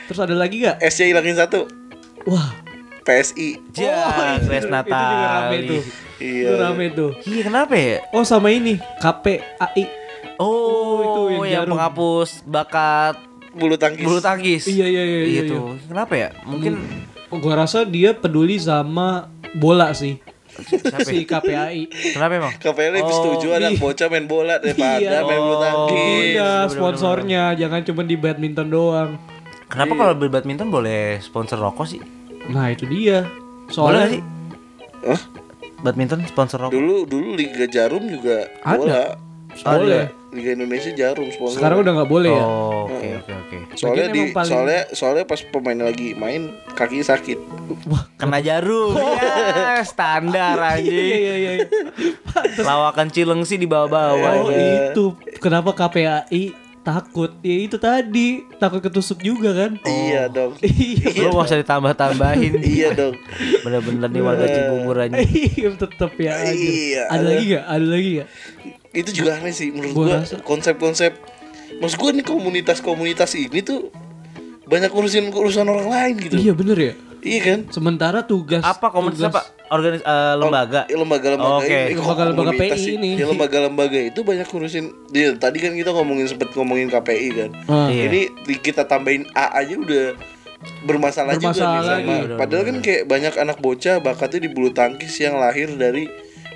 Terus ada lagi gak? S-nya hilangin satu. Wah. PSI. Oh, Iya, Ja, Oh, itu- Grace Itu juga rame Natali. tuh. Iya. Itu rame tuh. Iya, kenapa ya? Oh sama ini KPAI. Oh, itu yang yang, jarum. penghapus bakat Bulu tangkis. bulu tangkis. Iya, iya, iya, iya, Hmm. tuh. Kenapa ya? Mungkin Oh, gua rasa dia peduli sama bola sih. Siapa si ya? KPAI. Kenapa emang? KPL lebih setuju anak iya. bocah main bola daripada Iya. main bulu tangkis. Iya, sponsornya jangan cuma di badminton doang. Kenapa kalau beli badminton boleh sponsor rokok sih? Nah, itu dia. Boleh Soalnya sih? Badminton sponsor rokok. Dulu dulu Liga Jarum juga Ada. bola. boleh. Liga Indonesia Jarum sponsor. Sekarang udah nggak boleh ya. Oh, oke oke oke. soalnya Lagian di emang paling- soalnya soalnya pas pemain lagi main kakinya sakit. Kena jarum. Ya, standar Oh. Iya anjing. iya iya. Lawakan cileng sih di bawah-bawah. Oh, itu kenapa KPAI takut? Ya itu tadi, takut ketusuk juga kan. Iya dong. Iya. Lu gak usah ditambah-tambahin. iya dong. Bener-bener nih warga Cibubur anjing. Iya, tetep ya. anjir. Iya, Ada ada. lagi nggak? Ada lagi nggak? Itu juga aneh sih menurut Gua gua rasa. konsep-konsep. Maksud gua nih komunitas-komunitas ini tuh banyak urusin urusan orang lain gitu. Iya bener ya. Iya kan? Sementara tugas Apa komunitas Eh, tugas- apa? Organis eh, lembaga. Oh, Ya, lembaga-lembaga Oke. ini. Kok Lembaga-lembaga komunitas PI sih? ini. Ya, lembaga-lembaga itu banyak ngurusin. Dia tadi kan kita ngomongin sempet ngomongin KPI kan. Ah, Iya. Ini di- kita tambahin A aja udah bermasalah, juga Bermasalah nih sama. lagi. Padahal kan kayak banyak anak bocah bakatnya di bulu tangkis yang lahir dari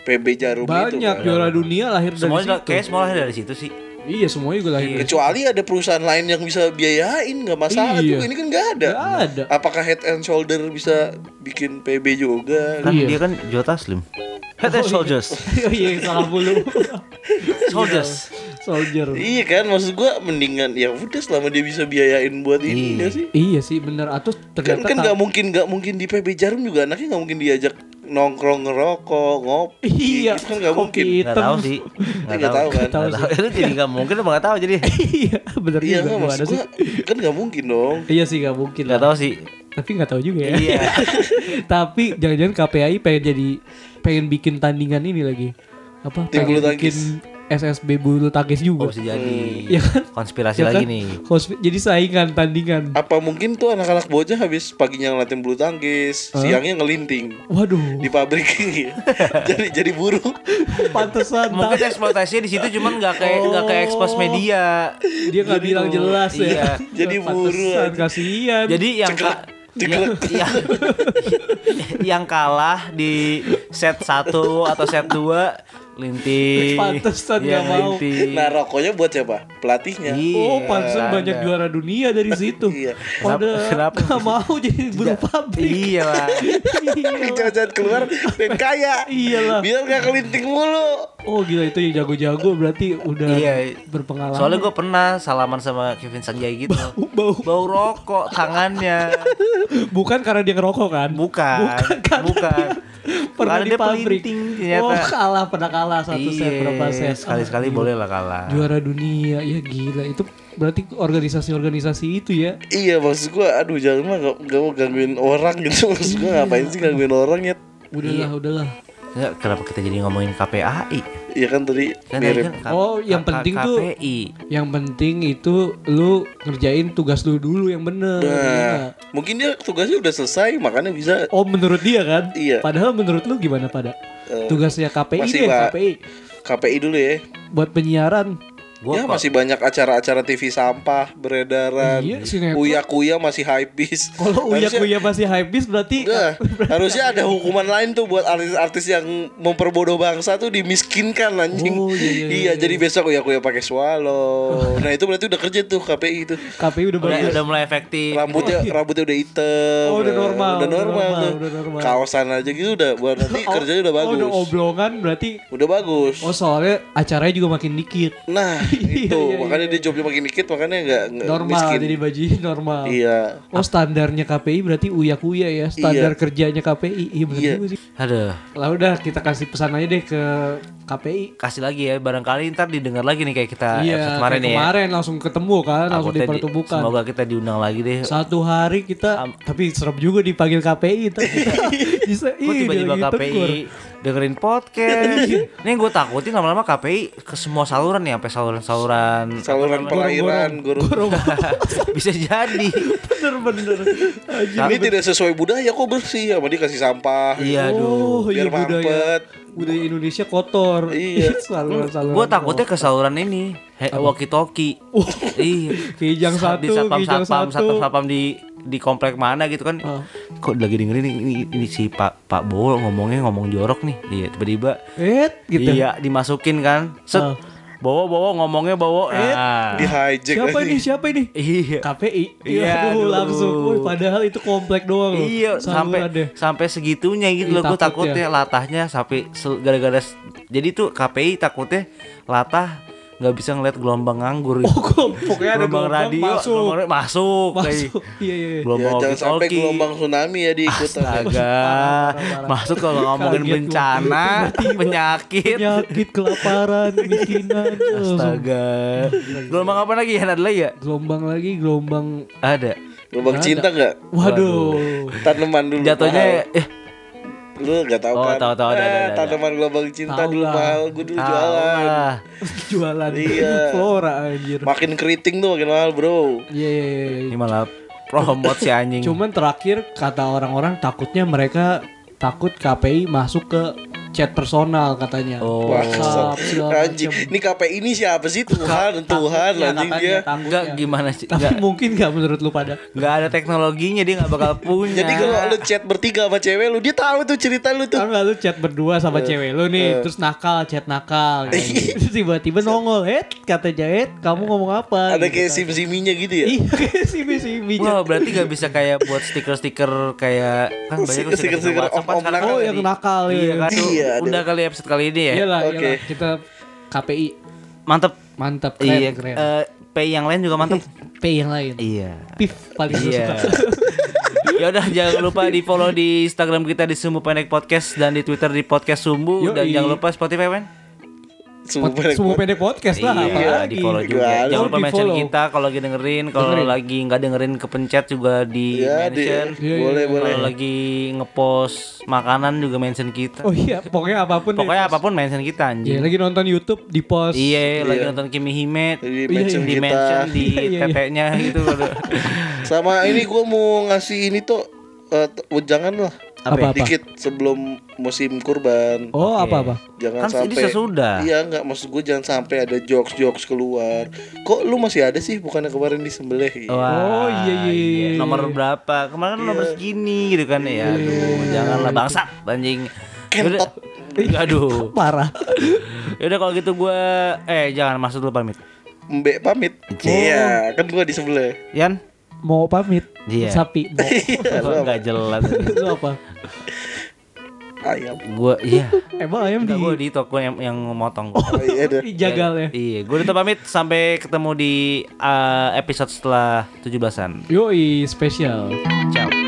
PB Jarum itu. banyak kan. juara dunia lahir Semua dari situ. kayak semua lahir dari situ sih. Iya semuanya gue lahir. dari Kecuali ada perusahaan lain yang bisa biayain nggak masalah Iya. juga ini kan nggak ada. Nggak ada. Apakah Head and Shoulder bisa bikin PB juga? Kan Iya. dia kan Joe Taslim. Head and shoulders. situ. Iya salah bulu. Shoulders. Soldier. Iya kan maksud gua mendingan ya udah selama dia bisa biayain buat ini nggak sih? Iya sih bener atau kan ternyata kan tak- nggak mungkin nggak mungkin di PB Jarum juga anaknya nggak mungkin diajak nongkrong ngerokok ngopi Iya. itu kan nggak kopi mungkin Gak tahu hitam. sih. Gak Nggak tahu. tahu kan? Nggak tahu. Itu jadi gak mungkin apa gak tahu jadi. Iya bener iya juga kan gua maksud ada sih. gua kan nggak mungkin dong Iya sih gak mungkin lah. Gak tahu sih. Tapi gak tahu juga ya. Iya. Tapi jangan-jangan KPAI pengen jadi pengen bikin tandingan ini lagi. Apa? Tim pengen bulu tangkis. bikin SSB bulu tangkis Oh, juga. bisa jadi. Iya kan? Konspirasi Ya lagi kan? nih. Konspi- jadi saingan tandingan. apa mungkin tuh anak-anak bocah habis paginya ngelatih bulu tangkis siangnya ngelinting Waduh, di pabrik ini jadi jadi buruh pantesan Mungkin tak- eksploitasinya di situ cuman gak kayak nggak kayak ekspos media. Oh. dia nggak Jadi bilang tuh, jelas iya. ya. Jadi buru Pantesan, aja. kasihan. Jadi yang Ceklek, ka- ceklek. yang, yang kalah di set 1 atau set 2 linting. Pantesan nggak Iya, mau. linting. nah rokoknya buat siapa pelatihnya Oh, Iya, pantesan ada. banyak juara dunia dari situ. Iya. Pada Kenapa- nggak mau jadi buru pabrik. Iya lah. Iya. jajan keluar dan kaya Iyalah. biar nggak kelinting mulu Oh gila itu yang jago-jago berarti udah Iya. berpengalaman. Soalnya gue pernah salaman sama Kevin Sanjay gitu. bau Bau rokok tangannya. bukan karena dia ngerokok kan? Bukan. Bukan karena Bukan. dia pernah Karena di dia pabrik. pelinting ternyata. Oh kalah pernah kalah satu set Iya, berapa set? Sekali-sekali Ah, gila. boleh lah kalah. Juara dunia ya gila itu berarti organisasi-organisasi itu ya. Iya maksud gua aduh jangan mah gak, gak mau gangguin orang gitu Maksud gua ngapain sih gangguin orang ya Udahlah Iya. udahlah. Nggak, Ya, kenapa kita jadi ngomongin KPAI? Iya kan tadi Kan tadi mirip kan K- Oh, yang K- penting tuh- KPI. Yang penting itu lu ngerjain tugas lu dulu yang bener. iya Nah nggak? mungkin dia tugasnya udah selesai makanya bisa Oh menurut dia kan? Iya. Padahal menurut lu gimana pada? Eh, Tugasnya KPI masih, deh, Pak. KPI KPI dulu ya buat penyiaran. Gua Ya kok- masih banyak acara-acara TV sampah beredaran Iya, sinetron. Uya-kuya masih high bis Kalau Uya Kuya masih hypebeast berarti Iya. harusnya ada hukuman lain tuh buat artis-artis yang memperbodoh bangsa tuh dimiskinkan anjing. Oh, iya, iya, iya. jadi besok uya kuya pakai swallow. Nah itu berarti udah kerja tuh KPI itu. KPI udah udah, bagus. udah mulai efektif. rambutnya rambutnya udah hitam Iya. Oh, udah normal, udah udah normal, normal, tuh udah normal. kaosan aja gitu udah buat nanti Oh, kerjanya udah bagus Oh, udah oblongan berarti udah bagus oh soalnya acaranya juga makin dikit. nah Iya, itu iya, makanya dia jobnya makin dikit makanya nggak nggak Normal Eh, miskin jadi baju normal. iya Oh standarnya KPI berarti uya kuya ya standar kerjanya KPI iya bener Iya. juga sih. Aduh, Lah udah kita kasih pesan aja deh ke KPI. kasih lagi ya barangkali ntar didengar lagi nih kayak kita episode Iya kemarin kemarin, nih ya. kemarin langsung ketemu kan langsung Takutnya di- dipertemukan. Semoga kita diundang lagi deh. Satu hari kita tapi serem juga dipanggil KPI tapi kita bisa Gue ih, dia tiba-tiba lagi KPI tegur. dengerin podcast. Ini gue takutin lama-lama KPI ke semua saluran nih, sampai saluran-saluran saluran perairan guru bisa jadi. Bener-bener. Anjing. ini tidak sesuai budaya kok bersih sama dia kasih sampah Iya, aduh. Oh, iya biar budaya mampet. budaya Indonesia kotor. Iya. saluran saluran. Gue takutnya ke saluran ini, walkie talkie. Iya. Kijang Sa- di satu, satpam Uh, kijang satpam satu. satpam satpam di di komplek mana gitu kan Ah. kok lagi dengerin ini, ini, ini si Pak Pak Bowo ngomongnya ngomong jorok nih. Iya, tiba-tiba Eh, gitu. iya dimasukin kan. Set. Oh. Bowo Bowo ngomongnya Bowo. Eh, Ah. Di hijack Siapa ini? Siapa ini? Iya. KPI. Iya, Aduh, aduh. langsung. Woi, padahal itu komplek doang loh. Iya, sampai Saluran deh. sampai segitunya gitu Ih, loh. Gue takut ya? takutnya latahnya sampai se- gara-gara s- jadi tuh KPI takutnya latah nggak bisa ngeliat gelombang nganggur. gitu. Oh, pokoknya ada gelombang radio masuk. gelombang radio masuk, kayak- Masuk. Iya, iya. iya. gelombang Ya, jangan sampai walkie-talkie. gelombang tsunami ya diikutan. Astaga, Parah, parah, parah. masuk kalau ngomongin Kaget gua. bencana, penyakit, Penyakit, kelaparan, miskinan. Langsung. astaga. Gelombang apa lagi ya? Ada lagi ya? Gelombang lagi, gelombang. Ada. Gelombang Nggak cinta nggak? Waduh. Tanaman dulu. Jatuhnya, eh, mahal. lu nggak tahu Oh, kan? tahu, tahu, ada, Eh, ada, ada. Tanaman gelombang cinta Tahu dulu lah. mahal. Gue dulu ah, jualan. lah. Jualan Iya. flora anjir. Makin keriting tuh makin mahal bro. Iya, iya, iya. ini malah promote si anjing. Cuman terakhir kata orang-orang takutnya mereka takut KPI masuk ke chat personal katanya. Oh. Wah, WhatsApp, segala anjing. macem. Ini KPI ini siapa sih Tuhan, Tuhan Takutnya, anjing katanya, dia. takutnya. Enggak gimana sih? Tapi Enggak mungkin nggak menurut lu pada? enggak ada teknologinya dia nggak bakal punya. Jadi kalau lu chat bertiga sama cewek lu, dia tahu tuh cerita lu tuh. Kalau nggak lu chat berdua sama Eh, cewek lu nih, terus nakal, chat nakal. Iya. gitu. Terus tiba-tiba nongol, "Eh, kata Jaet, kamu ngomong apa?" Gitu Ada kayak kan. sim-siminya gitu ya. Iya, kayak simi-siminya. Wah berarti gak bisa kayak buat stiker-stiker kayak kan banyak tuh Stiker-stiker stiker-stiker WhatsApp kan om-om ya. sekarang nakal. kan Oh, yang jadi- nakal, iya. Iya kan tuh. Iya, ada. Udah kali episode kali ini ya. Iyalah, Oke. iyalah. Kita KPI Mantep. mantap keren, Iya. keren. eh, pay yang lain juga mantep. P yang lain. iya. Pif paling gue suka. Iya. ya udah jangan lupa di follow di Instagram kita di Sumbu Pendek Podcast dan di Twitter di Podcast Sumbu dan Yoi. jangan lupa Spotify men. Semua Pod- Semua pendek podcast lah Iya, apalagi. Oh, di follow juga. Apalagi. Jangan lupa Di mention follow. kita kalau lagi dengerin, kalau Dengerin. lagi nggak dengerin kepencet juga di Iya, mention. deh. Iya, iya, Boleh, iya. boleh. Kalau lagi ngepost makanan juga mention kita. Oh iya, pokoknya apapun deh. Pokoknya apapun mention kita Iya, anjing. lagi nonton YouTube di post. Iya, lagi Iya. nonton Kimi Hime Jadi Iya, mention di kita. mention di Iya, iya, iya. TT-nya gitu. Sama ini gua mau ngasih ini tuh eh, t- jangan lah. Apa? Apa? Dikit sebelum musim kurban. Oh, Oke. apa-apa. kan Jangan ini sampai sesudah. Iya nggak maksud gue jangan sampai ada jokes-jokes keluar. Kok lu masih ada sih bukannya kemarin disembelih? Gitu. Wah, Oh, iya, iya, iya. Nomor berapa? Kemarin kan nomor Iya. segini gitu kan ya. Aduh, janganlah bangsat anjing. Yaudah. Iya. Aduh. Parah. Yaudah kalau gitu gua eh jangan masuk dulu pamit. Mbak pamit. Oh. Iya, kan gua disembelih. Yan? Mau pamit. Iya. Sapi. Mau. Iya, Gua nggak jelas. Lu apa? Ayam. Gua iya. Emang ayam di Enggak gua di toko yang yang motong. gua. Iya dah. dijagal ya. Iya, gua udah pamit sampai ketemu di eh, episode setelah 17-an. Yoi, spesial. Ciao.